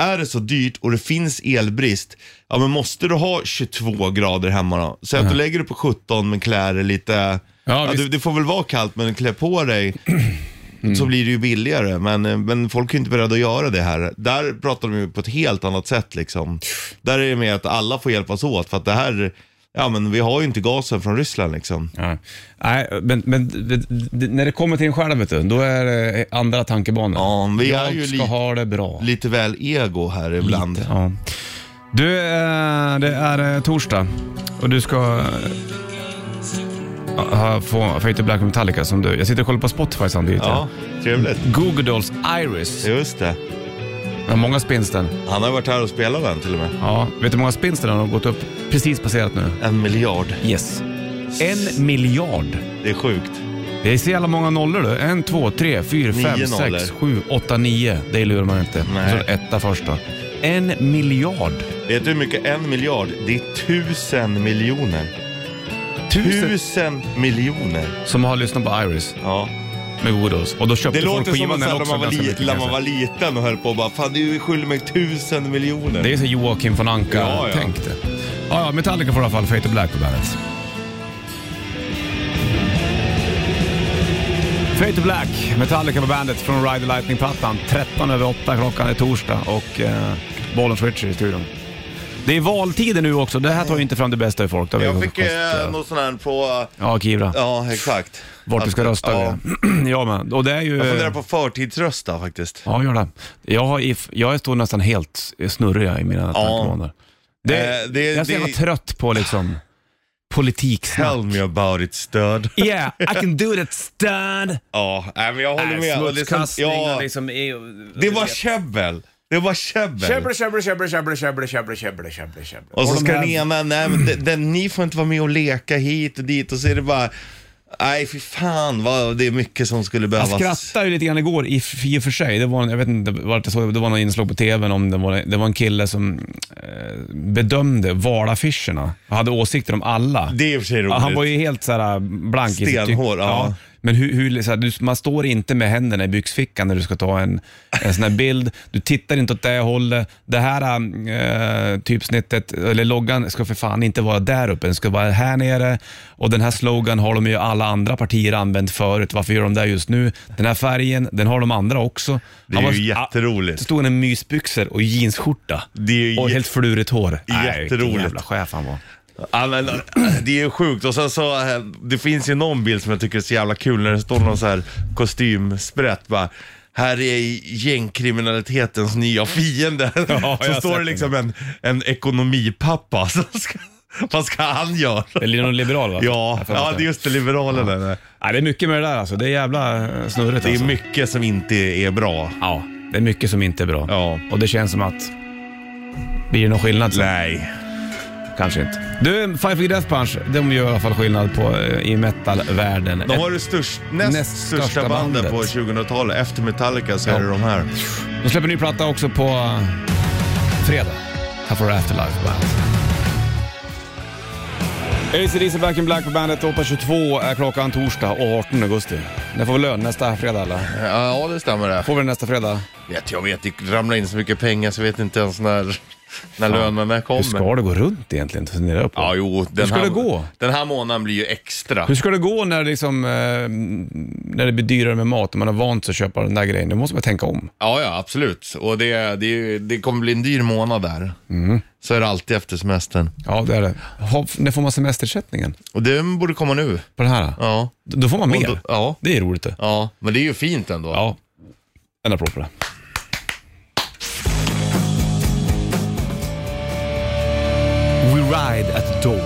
C: är det så dyrt och det finns elbrist, ja men måste du ha 22 grader hemma då? Säg att du lägger dig på 17 med kläder lite, ja,
B: visst.
C: det, det får väl vara kallt men klä på dig.
B: Mm.
C: Så blir det ju billigare, men, eh, men folk är inte beredda att göra det här. Där pratar de ju på ett helt annat sätt liksom. Där är det mer att alla får hjälpas åt, för att det här, ja men vi har ju inte gasen från Ryssland liksom.
B: Nej, Nej, men, men det- det- när det kommer till en själv, vet du, då är det andra tankebanor.
C: Ja, vi
B: jag
C: är ju
B: ska
C: lite-
B: ha det bra.
C: Lite väl ego här ibland.
B: Ja. Du, eh, det är eh, torsdag och du ska eh, ha- få Fate Black Metallica som du. Jag sitter och kollar på Spotify samtidigt.
C: Ja, trevligt.
B: Google Dolls Iris.
C: Just det.
B: Hur många spins den?
C: Han har varit här och spelat den till och med.
B: Ja, vet du hur många spins den har gått upp? Precis passerat nu.
C: En miljard.
B: Yes. En miljard.
C: Det är sjukt.
B: Det är så jävla många nollor du. En, två, tre, fyra,
C: Nio
B: fem,
C: nollor.
B: sex, sju, åtta, nio. Det lurar man inte.
C: Nej.
B: Så etta första. En miljard.
C: Vet du hur mycket en miljard? Det är tusen miljoner.
B: Tusen
C: Tusen miljoner.
B: som har lyssnat på Iris
C: Ja.
B: med Woodhouse. Och då köpte
C: Det
B: folk
C: låter som
B: skivan
C: att när
B: den också
C: man, var
B: ganska
C: li-
B: mycket,
C: när
B: kan jag
C: man
B: säga.
C: var liten och höll på och bara Fan du skyller mig tusen miljoner.
B: Det är så Joakim von Anka
C: Ja, ja.
B: tänkte. Ja, ja, Metallica får i alla fall Fate of Black på bandet. Fade to Black, Metallica på bandet från Ride the Lightning-plattan. 13 över 8 klockan är torsdag och eh, bollen switcher i studion. Det är valtider nu också, det här tar ju inte fram det bästa i folk. det har vi
C: Jag fick eh,
B: konstaterat.
C: något sån här på...
B: Ja, Kivra.
C: Ja, exakt.
B: Vart du ska
C: Att-
B: rösta.
C: Ja.
B: Ja, ja men. Och det är ju...
C: Jag funderar
B: eh,
C: på förtidsrösta faktiskt.
B: Ja, gör det. Jag, har if, jag står nästan helt snurrig i mina tankebanor. Det,
C: Eh, det-
B: jag är så
C: det-
B: jävla trött på liksom politiksnack.
C: Tell me about it stöd.
B: Yeah, I can do that stud!
C: Ja, nej, men jag håller med. Och liksom- ja,
B: liksom...
C: det var käbbel. Det var käbbel.
H: Käbble, käbble, käbble, käbble, käbble, käbble, käbble, käbble, käbble.
C: Och så
B: Och de
C: ska
B: här-
C: den ena, nej men den, den, ni får inte vara med och leka hit och dit och så är det bara, nej fy fan vad det är mycket som skulle
B: Jag
C: behövas.
B: skrattade ju lite grann igår i, i och för sig. Det var, en- jag vet inte vart jag såg det. Det var någon inslag på TVn om det var, det var en kille som eh, bedömde valaffischerna och hade åsikter om alla.
C: Det är i och för sig roligt.
B: Ja, han var ju helt så här äh, blank i sitt
C: Stenhård, ja.
B: Men hur, hur, så här, du, man står inte med händerna i byxfickan när du ska ta en, en sån här bild. Du tittar inte åt det hållet. Det här eh, typsnittet, eller loggan, ska för fan inte vara där uppe. Den ska vara här nere. Och den här slogan har de ju alla andra partier använt förut. Varför gör de det just nu? Den här färgen, den har de andra också.
C: Det är ju jätteroligt.
B: Det stod han i mysbyxor och jeansskjorta.
C: Det är ju
B: och
C: jä-
B: helt flurigt hår. Nej, vilken
C: Jätteroligt.
B: jävla chef han var.
C: Ja, men, äh, det är ju sjukt. Och sen så, äh, det finns ju någon bild som jag tycker är så jävla kul när det står någon så här kostymsprätt bara. Här är gängkriminalitetens nya fiende. så står det liksom en, en ekonomipappa. Som ska, vad ska han göra?
B: Eller är det någon liberal va?
C: Ja,
B: Jag får
C: ja
B: inte.
C: det är just det, liberalerna. där.
B: Ja, det är mycket med det där alltså. Det är jävla eh, snurrigt
C: Det är
B: alltså.
C: mycket som inte är bra.
B: Ja, det är mycket som inte är bra.
C: Ja.
B: Och det känns som att... Blir det någon skillnad sen?
C: Nej.
B: Kanske inte. Du, Five Finger Death Punch, de gör i alla fall skillnad på, eh, i metalvärlden.
C: De
B: Ett-
C: var det störst, näst,
B: Näst
C: största,
B: största
C: bandet på
B: bandet.
C: 2000-talet. Efter Metallica så
B: Ja.
C: är det de här.
B: De släpper ny platta också på eh, fredag. Här får du Afterlife på bandet. ACDC Back in Black på bandet. 8.22 är klockan torsdag och 18 augusti. När får vi lön? Nästa fredag eller?
C: Ja, det stämmer det.
B: Får vi den nästa fredag?
C: Vet, jag vet, det ramlar in så mycket pengar så jag vet inte ens när, när lönerna kommer.
B: Hur ska det gå runt egentligen? Fundera upp på.
C: Ja, jo. Den
B: ska
C: här,
B: det gå?
C: Den här månaden blir ju extra.
B: Hur ska det gå när, liksom, eh, när det blir dyrare med mat och man har vant sig att köpa den där grejen? Då måste man tänka om.
C: Ja, ja, absolut. Och det, det, är ju- det kommer bli en dyr månad där.
B: Mm.
C: Så är det alltid efter semestern.
B: Ja, det är det. Ha, när får man semesterersättningen?
C: Och den borde komma nu.
B: På det här?
C: Ja.
B: Då då får man mer.
C: Och då- ja.
B: Det är roligt det.
C: Ja, men det är ju fint ändå.
B: Ja. En applåd på det. We ride at dawn.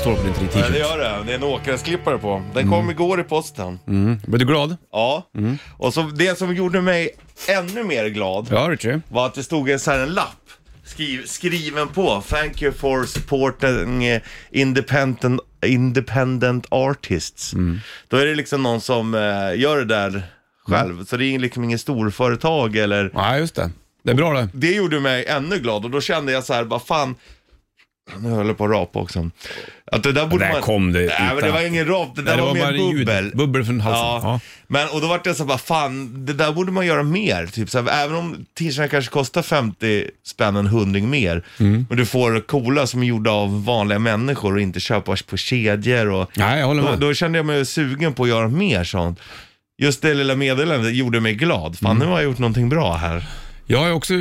B: Står på din
C: Ja, det
B: t-shirt.
C: gör det. Det är en åkgräsklippare på. Den
B: Mm.
C: kom igår i posten.
B: Blir du glad?
C: Ja, och så det som gjorde mig ännu mer glad
B: Mm. Ja, Richie.
C: var att det stod en, så här, en lapp skriv, skriven på. Thank you for supporting eh, independent, independent artists. Då är det liksom någon som eh, gör det där själv. Så det är liksom ingen storföretag eller...
B: Nej, just det. Det är bra det.
C: Det gjorde mig ännu glad och då kände jag så här, vad fan. Nu höll jag på att rapa också. Att det där borde
B: Där
C: man...
B: kom det
C: Nej, men
B: utan-
C: det var ingen rap, det där
B: Nej,
C: var,
B: bara
C: mer
B: en ljud-
C: bubbel.
B: Bubbel från halsen.
C: Ja.
B: Ja.
C: Men, och då vart jag så här, bara, fan, det där borde man göra mer. Typ, så här, även om t-shirtarna kanske kostar 50 spänn, en hundring mer.
B: Mm.
C: Men du får coola som är gjorda av vanliga människor och inte köpas på kedjor. Och,
B: Nej, jag håller
C: då,
B: med.
C: då kände jag mig sugen på att göra mer sånt. Just det lilla meddelandet gjorde mig glad.
B: Mm.
C: Fan, nu har jag gjort någonting bra här.
B: Jag har ju också,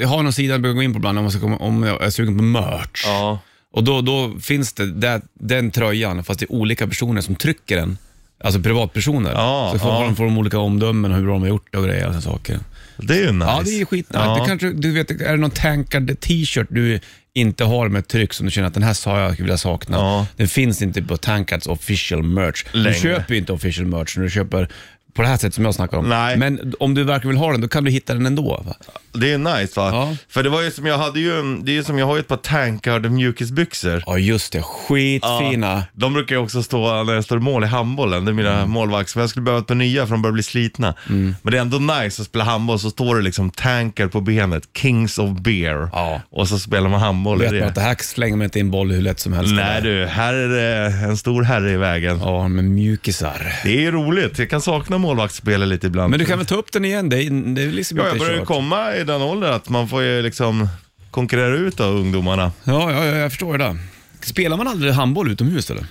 B: jag har någon sida jag brukar gå in på ibland om, man ska komma, om jag är sugen på merch.
C: Ja.
B: Och då, då finns det där, den tröjan, fast det är olika personer som trycker den. Alltså privatpersoner.
C: Ja,
B: så får,
C: ja.
B: de får de olika omdömen och hur bra de har gjort det och grejer. och såna saker.
C: Det är ju nice.
B: Ja, det är ju skit.
C: Ja.
B: Det kanske, du vet, är det någon tankad t-shirt du inte har med tryck som du känner att den här sa jag skulle vilja sakna.
C: Ja.
B: Den finns inte på Tankards official merch.
C: Längre.
B: Du köper ju inte official merch när du köper på det här sättet som jag snackar om.
C: Nej.
B: Men om du verkligen vill ha den, då kan du hitta den ändå. Va?
C: Det är nice va?
B: Ja.
C: För det var ju som jag hade ju, det är ju som jag har ju ett par tankar mjukisbyxor.
B: Ja, just det. Skitfina.
C: De brukar ju också stå när jag står i mål i handbollen, det är mina
B: Mm.
C: målvakter. Men jag skulle behöva ett par nya för de börjar bli slitna. Men det är ändå nice att spela handboll, så står det liksom tankar på benet, Kings of Beer.
B: Ja.
C: Och så spelar man handboll i
B: vet man
C: det.
B: att det här slänger man inte in boll hur lätt som helst.
C: Nej du, här är det en stor herre i vägen.
B: Ja, men mjukisar.
C: Det är ju roligt, jag kan sakna målvaktsspelet lite ibland.
B: Men du kan väl ta upp den igen? Det är, det är liksom
C: ja, jag
B: inte
C: börjar ju
B: kört.
C: komma i den åldern att man får ju liksom konkurrera ut av ungdomarna.
B: Ja, ja, ja, jag förstår ju det. Spelar man aldrig handboll utomhus eller?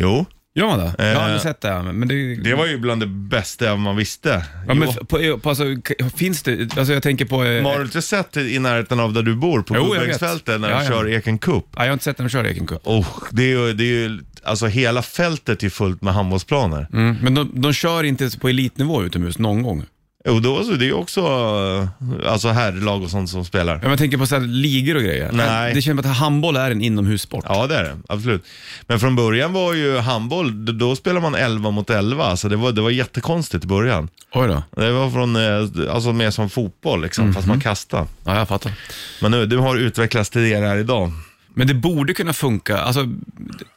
C: Jo,
B: Gör man det? Jag har
C: Eh,
B: aldrig sett det, men det...
C: Det var ju bland det bästa man visste.
B: ja, men
C: Jo.
B: f- på, på, alltså, k- finns det... Alltså jag tänker på... eh,
C: Men har du inte sett det i närheten av där du bor, på
B: Jo, jag vet.
C: Gullbergsfältet, när
B: Ja,
C: de
B: ja.
C: kör Eken Cup?
B: Nej, jag har inte sett dem köra Eken Cup.
C: Oh, det är ju, det är ju, alltså hela fältet är fullt med handbollsplaner.
B: Mm. Men de, de kör inte på elitnivå utomhus någon gång.
C: Jo, då, alltså, det är ju också eh, alltså, herrlag och sånt som spelar.
B: Ja, men Jag tänker på så här, ligor och grejer.
C: Nej.
B: Det känns som att handboll är en inomhussport.
C: Ja, det är det. Absolut. Men från början var ju handboll, d- då spelade man 11 mot 11. Så det var, det var jättekonstigt i början.
B: Oj då.
C: Det var från, eh, alltså mer som fotboll liksom, fast
B: Mhm.
C: man kastar.
B: Ja, jag fattar.
C: Men nu, det har utvecklats till det här idag.
B: Men det borde kunna funka, alltså, det-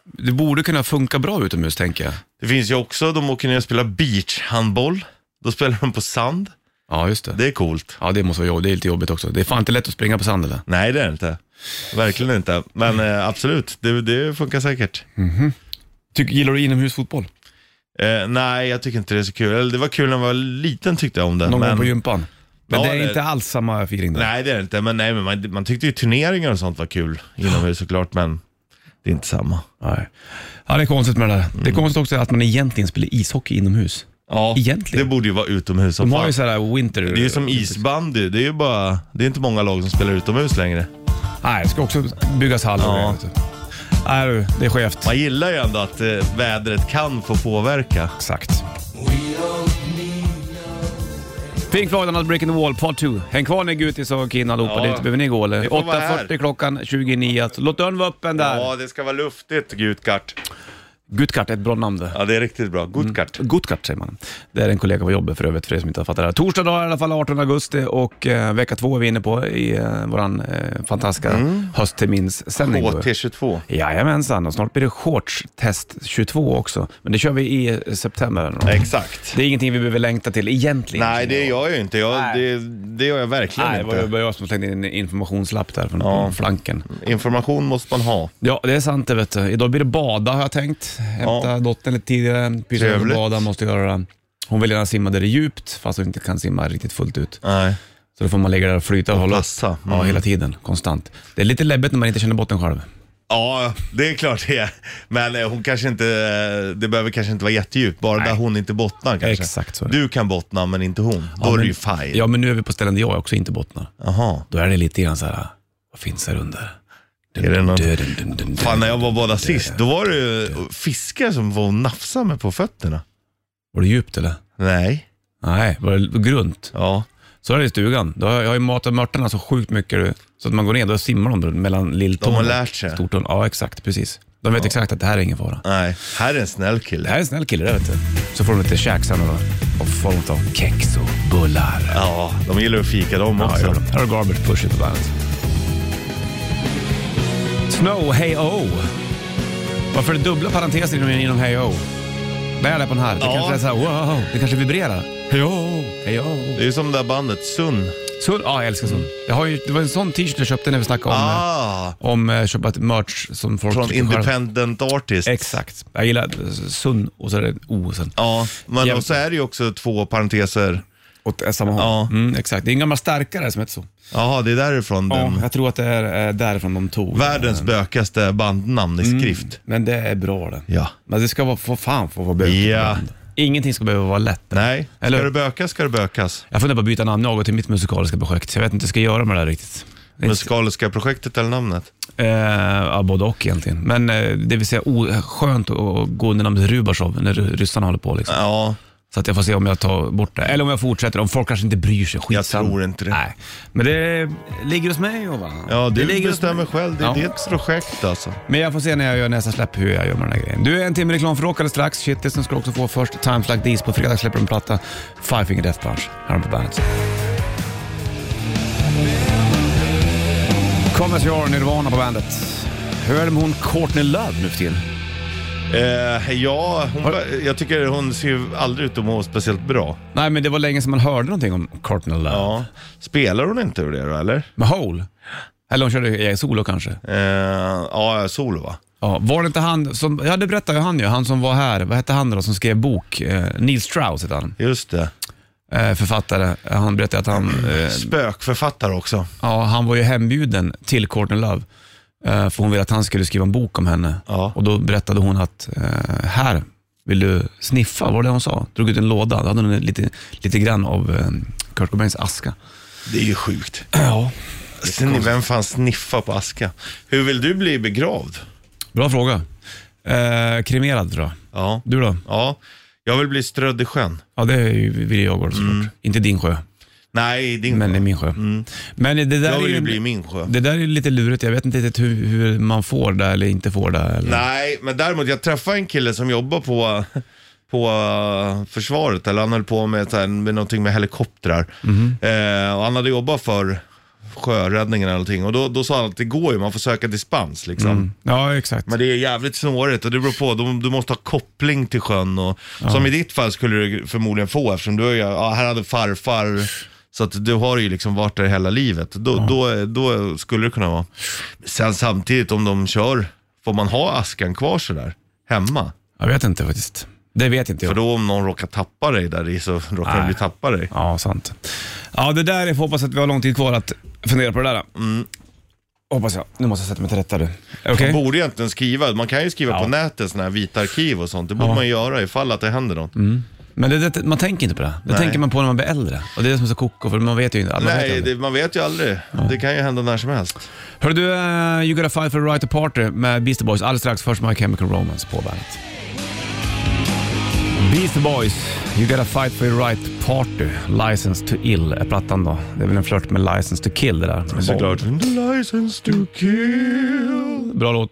B: det borde kunna funka bra utomhus tänker jag.
C: Det finns ju också, de åker ner och spelar beachhandboll. Då spelar de på sand.
B: Ja, just det.
C: Det är coolt.
B: Ja, det måste vara jobbigt. Det är lite jobbigt också. Det är fan inte lätt att springa på sand eller?
C: Nej, det är det inte. Verkligen inte. Men eh, absolut, det, det funkar säkert.
B: Tycker, gillar du inomhusfotboll?
C: Eh, nej, jag tycker inte det är så kul. Eller det var kul när jag var liten tyckte jag om det.
B: Någon
C: men,
B: gång på gympan? Men
C: Ja,
B: det är
C: det-
B: inte alls samma feeling där.
C: Nej, det är det inte. Men, nej, men man, man tyckte ju turneringar och sånt var kul inomhus såklart, men det är inte samma.
B: Nej. Ja, det är konstigt med det där.
C: Mm.
B: Det är konstigt också att man egentligen spelar ishockey inomhus.
C: Ja,
B: Egentligen.
C: Det borde ju vara utomhus som
B: De har ju
C: fan.
B: så här winter...
C: Det är ju som isbandy. Det är ju bara, det är inte många lag som spelar utomhus längre.
B: Nej, det ska också byggas hallar och
C: Ja.
B: grejer, vet du. Nej du, det är skevt.
C: Man gillar ju ändå att eh, vädret kan få påverka.
B: Exakt. Pink Floyd, Another Break in the Wall, Part 2. Häng kvar ni Gutis och Kinn allihopa,
C: Ja.
B: det behöver ni gå eller?
C: Ni får vara här.
B: 8.40 klockan 29. Alltså, Låt dörren vara öppen där.
C: Ja, det ska vara luftigt, Gutkart.
B: Gutkart är ett bra namn det.
C: Ja, det är riktigt bra.
B: Mm.
C: Gutkart.
B: Gutkart säger man. Det är en kollega på jobbet för övrigt, för er som inte har fattat det här. Torsdag dag i alla fall, 18 augusti och eh, vecka två är vi inne på i eh, våran eh, fantastiska
C: Mm.
B: höstterminssändning.
C: HT22.
B: Jajamensan, och snart blir det shortstest 22 också. Men det kör vi i eh, september. eller något.
C: Exakt.
B: Det är ingenting vi behöver längta till egentligen.
C: Nej, det gör jag ju inte. Jag,
B: Nej.
C: det, det gör jag verkligen
B: Nej, det
C: inte.
B: var ju bara jag som slängde in en informationslapp där från
C: Ja.
B: flanken.
C: Information måste man ha.
B: Ja, det är sant det vet du. Idag blir det bada har jag tänkt. Hämta dottern lite tidigare, pysa över
C: Trevligt.
B: bada, måste göra det. Hon vill gärna simma där det är djupt, fast hon inte kan simma riktigt fullt ut.
C: Nej.
B: Så då får man ligga där och flyta och hålla
C: passa.
B: Ja,
C: Mm.
B: hela tiden, konstant. Det är lite läbbigt när man inte känner botten själv.
C: Ja, det är klart det är. Men eh, hon kanske inte, eh, det behöver kanske inte vara jättedjupt, bara där hon inte bottnar kanske.
B: Exakt så är det.
C: Du kan bottna men inte hon. Då är det ju fine.
B: Ja, men nu är vi på ställen där jag också inte bottnar.
C: Jaha.
B: Då är det lite grann så här, vad finns här under?
C: Är det någon-
B: Dun, dun, dun, dun, dun.
C: Fan, när jag var båda sist, då var det ju fiskar som var och nafsade mig på fötterna.
B: Var det djupt eller?
C: Nej.
B: Nej, var det grunt?
C: Ja.
B: Så är det i stugan. Då har jag, jag har ju matat mörtarna så sjukt mycket du, så att man går ner, då simmar de då mellan lilltån
C: De har
B: och
C: lärt sig.
B: stortån. Ja, exakt. Precis. De vet exakt att det här är ingen fara.
C: Nej. Här är en snäll
B: Det
C: kille.
B: här är en snäll kille, det vet du. Så får de lite käk sen och, och får de ta kex och bullar.
C: Ja, de gillar att fika de
B: Ja,
C: också.
B: gör de. Här har du Garbage Push på bandet. Snow Hey O. Varför är det dubbla parenteser inom, inom Hey O? Bär det på den här. Det
C: Ja.
B: kanske är så här, wow. Det kanske vibrerar. Hey O, Hey oh. O.
C: det är ju som det där bandet, Sun.
B: Sun, ja jag älskar Sun. Jag har ju, det var en sån t-shirt jag köpte när vi snackade om,
C: Ah,
B: eh, om eh, köpa ett merch som folk
C: från
B: tycker själv.
C: Independent Artist.
B: Exakt. Jag gillar eh, Sun och så är det O sen.
C: Ja, men
B: Jävligt.
C: och så är det ju också två parenteser.
B: Åt eh, samma håll.
C: Ja.
B: Mm, exakt. Det är en gammal starkare som heter så.
C: Jaha, det är därifrån
B: Ja,
C: den.
B: jag tror att det är eh, därifrån de tog.
C: Världens bökigaste bandnamn i skrift.
B: Men det är bra det.
C: Ja.
B: Men det ska vara, för fan få vara bökigt.
C: Ja.
B: Ingenting ska behöva vara lätt.
C: Nej, ska
B: Eller-
C: det bökas ska det bökas.
B: Jag funderar på att byta namn jag går till mitt musikaliska projekt. Jag vet inte hur jag ska göra med det här riktigt. Det är inte-
C: Musikaliska projektet eller namnet?
B: Eh, ja, både och egentligen. Men eh, det vill säga o- skönt att att gå under namnet Rubashov när ry- ryssarna håller på. Liksom.
C: Ja,
B: Så att jag får se om jag tar bort det. Eller om jag fortsätter. Om folk kanske inte bryr sig.
C: jag
B: Skitsamma.
C: tror inte det.
B: Nej, men det ligger hos mig Jovan.
C: Ja,
B: det
C: du
B: ligger hos
C: bestämmer
B: mig.
C: själv. Det är
B: Ja.
C: ditt projekt alltså.
B: Men jag får se när jag gör nästa släpp hur jag gör med den här grejen. Du, är en timme reklam för rock alldeles strax. Shitlisten ska du också få först. Times Like These. På fredag släpper de en platta. Five Finger Death Punch. Här har de på bandet. Come As You Are, Nirvana på bandet. Hur är det med hon Courtney Love nu för tiden?
C: Eh, ja, hon, bör- jag tycker hon ser ju aldrig ut att må speciellt bra.
B: Nej, men det var länge sedan man hörde någonting om Courtney Love.
C: Ja. Spelar hon inte ur det då, eller?
B: Med Hole? Eller hon körde eh, solo kanske.
C: Eh, ja, solo va?
B: Ja, var det inte han som, ja det berättade ju han ju, han som var här, vad hette han då som skrev bok? Eh, Neil Strauss hette han,
C: Just det.
B: eh, författare. Han berättade att han, eh,
C: Spökförfattare också.
B: ja, han var ju hembjuden till Courtney Love. eh, För hon ville att han skulle skriva en bok om henne.
C: Ja.
B: Och då berättade hon att eh, här vill du sniffa? Var det hon sa? Drog ut en låda. Då hade hon lite, lite grann av eh, Kurt Cobains aska.
C: Det är ju sjukt.
B: Ja.
C: Sn- Vem fan sniffar på aska? Hur vill du bli begravd?
B: Bra fråga. Eh, kremerad tror jag.
C: Ja.
B: Du då?
C: ja. Jag vill bli strödd i sjön.
B: Ja, det är ju- vill jag gå såklart.
C: Mm.
B: Inte din sjö,
C: Nej, din
B: men i
C: sjö.
B: min sjö. Men det där
C: Mm. Jag
B: är
C: vill
B: ju
C: ju bli i min sjö.
B: Det där är lite lurigt. Jag vet inte riktigt hur, hur man får det eller inte får det. Eller.
C: Nej, men däremot jag träffade en kille som jobbar på, på eh, försvaret, eller han höll på med, så här, med någonting med helikoptrar. Eh, och han hade jobbat för sjöräddningen eller någonting och då, då sa han att det går ju, man får söka dispens liksom.
B: Ja, exakt.
C: Men det är jävligt snårigt och det beror på, du, du måste ha koppling till sjön och som i ditt fall skulle du förmodligen få eftersom du är, ja, här hade farfar så att du har ju liksom varit där hela livet. Då, då, då skulle det kunna vara. Sen samtidigt om de kör, får man ha askan kvar sådär hemma?
B: Jag vet inte faktiskt. Det vet inte
C: För
B: jag.
C: då om någon råkar tappa dig där i så råkar de ju tappa dig.
B: Ja, sant. Ja, det där, jag får hoppas att vi har lång tid kvar att fundera på det där.
C: Mm.
B: Hoppas jag. Nu måste jag sätta mig till rätta du. Okej?
C: Man borde egentligen skriva, man kan ju skriva på nätet sådana här vita arkiv och sånt. Det borde man göra ifall att det händer något.
B: Men det, det, man tänker inte på det. Det
C: Nej.
B: tänker man på när man blir äldre. Och det är det som är så koko, för man vet ju inte. Man vet ju
C: Nej,
B: aldrig.
C: det, man vet ju aldrig. Det kan ju hända när som helst.
B: Hör du, eh, You Gotta Fight For The Right To Party med Beastie Boys. Alldeles strax först My Chemical Romance på bandet. Beastie Boys, You Gotta Fight For Your Right To Party. License To Ill är plattan då. Det är väl en flört med License To Kill det där. med
C: Såklart. License to kill.
B: Bra låt.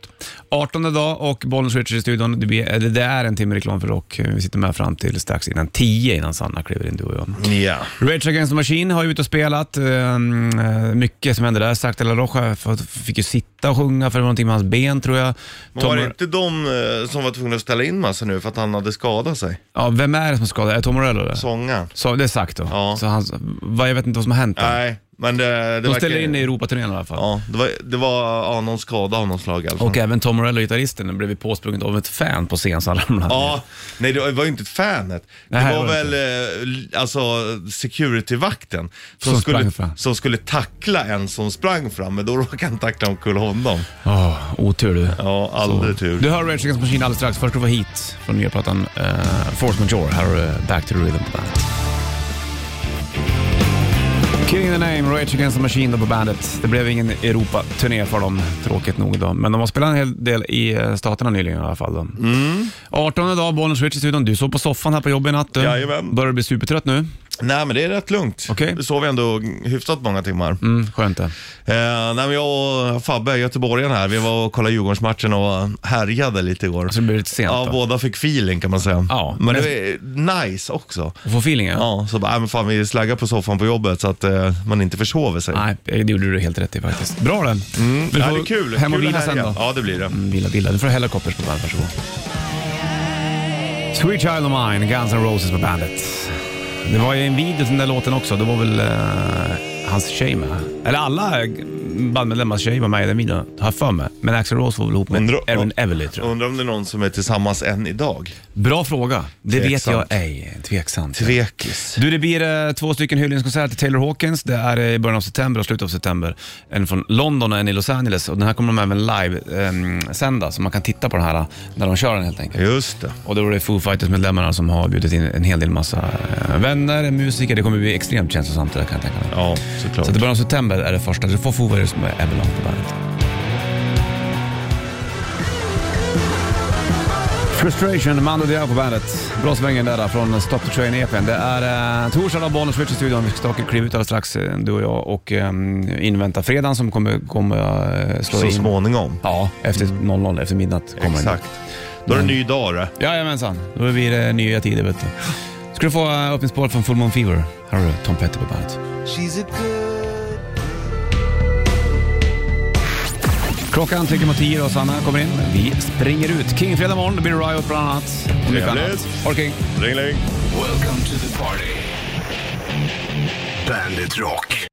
B: 18 dag och Bollnäs Richard i studion. Det, blir, eller det är en timme reklam för rock. Vi sitter med fram till strax innan 10 innan Sanna kliver in, du och jag.
C: Ja.
B: Rage Against the Machine har ju ute och spelat. Ehm, eh, mycket som hände där. Zack de la Rocha f- fick ju sitta och sjunga för det var någonting med hans ben tror jag.
C: Men
B: Tom-
C: var det inte de eh, som var tvungna att ställa in massa nu för att han hade skadat sig?
B: ja, vem är det som skadade? Är det Tom Morello det?
C: Sångaren?
B: Så, det är Zack då.
C: Ja.
B: Så han, vad, jag vet inte vad som har hänt. där.
C: Nej, men det, det
B: De
C: verkar-
B: ställer in i Europaturnén i alla fall.
C: Ja, det var, det var ja, någon skada av någon slag i alla fall.
B: Och även Tom Morello, gitarristen, blev ju påsprungen av ett fan på scen så han ramlade
C: Ja, nej det var ju inte fanet. Det
B: Nej,
C: var
B: det var det
C: väl eh, alltså securityvakten som,
B: Som
C: skulle,
B: sprang fram.
C: som skulle tackla en som sprang fram, men då råkade han tackla omkull honom.
B: Ja, otur du.
C: Ja, aldrig
B: Så.
C: tur.
B: Du hör Rage Against the Machine alldeles strax. Först ska vi få hit från nya plattan eh, Force Major. Här har du eh, Back to the Rhythm på bandet. Killing the name, Rage Against the Machine då på bandet. Det blev ingen Europa-turné för dem, tråkigt nog. Då. Men de har spelat en hel del i eh, Staterna nyligen i alla fall. Då.
C: Mm.
B: 18 dag, bollen switch i studion. Du sov på soffan här på jobbet i natt. du.
C: Jajamän.
B: Börjar du bli supertrött nu?
C: Nej, men det är rätt lugnt.
B: Okej.
C: Nu sov jag ändå hyfsat många timmar.
B: Mm, skönt det.
C: Eh, nej, men jag och Fabbe, göteborgaren här, vi var och kollade Djurgårdsmatchen och härjade lite igår.
B: Så Alltså, det blir lite sent
C: Ja,
B: då.
C: båda fick feeling kan man säga.
B: Ja,
C: men
B: men-
C: det är nice också.
B: Och få feelingen?
C: Ja, så bara, nej, men fan vi slaggar på soffan på jobbet så att eh, man inte försover sig.
B: Nej, det gjorde du helt rätt i faktiskt. Bra den. Mm.
C: Ja, det är kul.
B: Hem och
C: kul
B: vila
C: att
B: sen
C: härja.
B: då. Mm.
C: Ja, det blir det.
B: Vila, vila. Du får Hellacopters på bandet, varsågod. Sweet Child of Mine, Guns N' Roses på bandet. Det var ju en video till den där låten också. Det var väl eh, hans tjej med. Eller alla bandmedlemmars tjej var med i den videon, har jag för mig. Men Axl Rose var väl ihop med
C: Undrar-
B: Erin Everly tror jag.
C: Undrar om det är någon som är tillsammans än idag.
B: Bra fråga. Det
C: Tveksamt.
B: vet jag ej. Tveksamt.
C: Tvekis.
B: Du, det blir eh, två stycken hyllningskonserter till Taylor Hawkins. Det är eh, i början av september och slutet av september. En från London och en i Los Angeles. Och den här kommer de även live-sända, så man kan titta på den här eh, när de kör den helt enkelt.
C: Just det.
B: Och då är det Foo Fighters-medlemmarna som har bjudit in en hel del massa eh, vänner, musiker. Det kommer bli extremt känslosamt det där kan jag tänka mig.
C: Ja, såklart.
B: Så att i början av september är det första. Du får Foo Fighters med Everlong på bandet. Frustration, Mando Diao på bandet. Bra svängen där från Stop the Train EPn. Det är eh, torsdag av Bollnäs Switch i studion. Vi ska staka kliva ut alldeles strax, eh, du och jag, och eh, invänta fredagen som kommer, kommer eh, slå
C: Så
B: in.
C: småningom.
B: Ja, efter 00, efter midnatt kommer den.
C: Exakt. Då är det en ny dag det.
B: Jajamensan, då blir det nya tider vet du. Ska du få eh, öppningsspår från Full Moon Fever. Här har du Tom Petty på bandet. Klockan tickar mot tio och Sanna kommer in. Vi springer ut. King fredag morgon, det blir Riot bland annat. Och mycket
C: Trevligt.
B: annat. Orking.
C: Ringling.
D: Welcome to the party. Bandit Rock.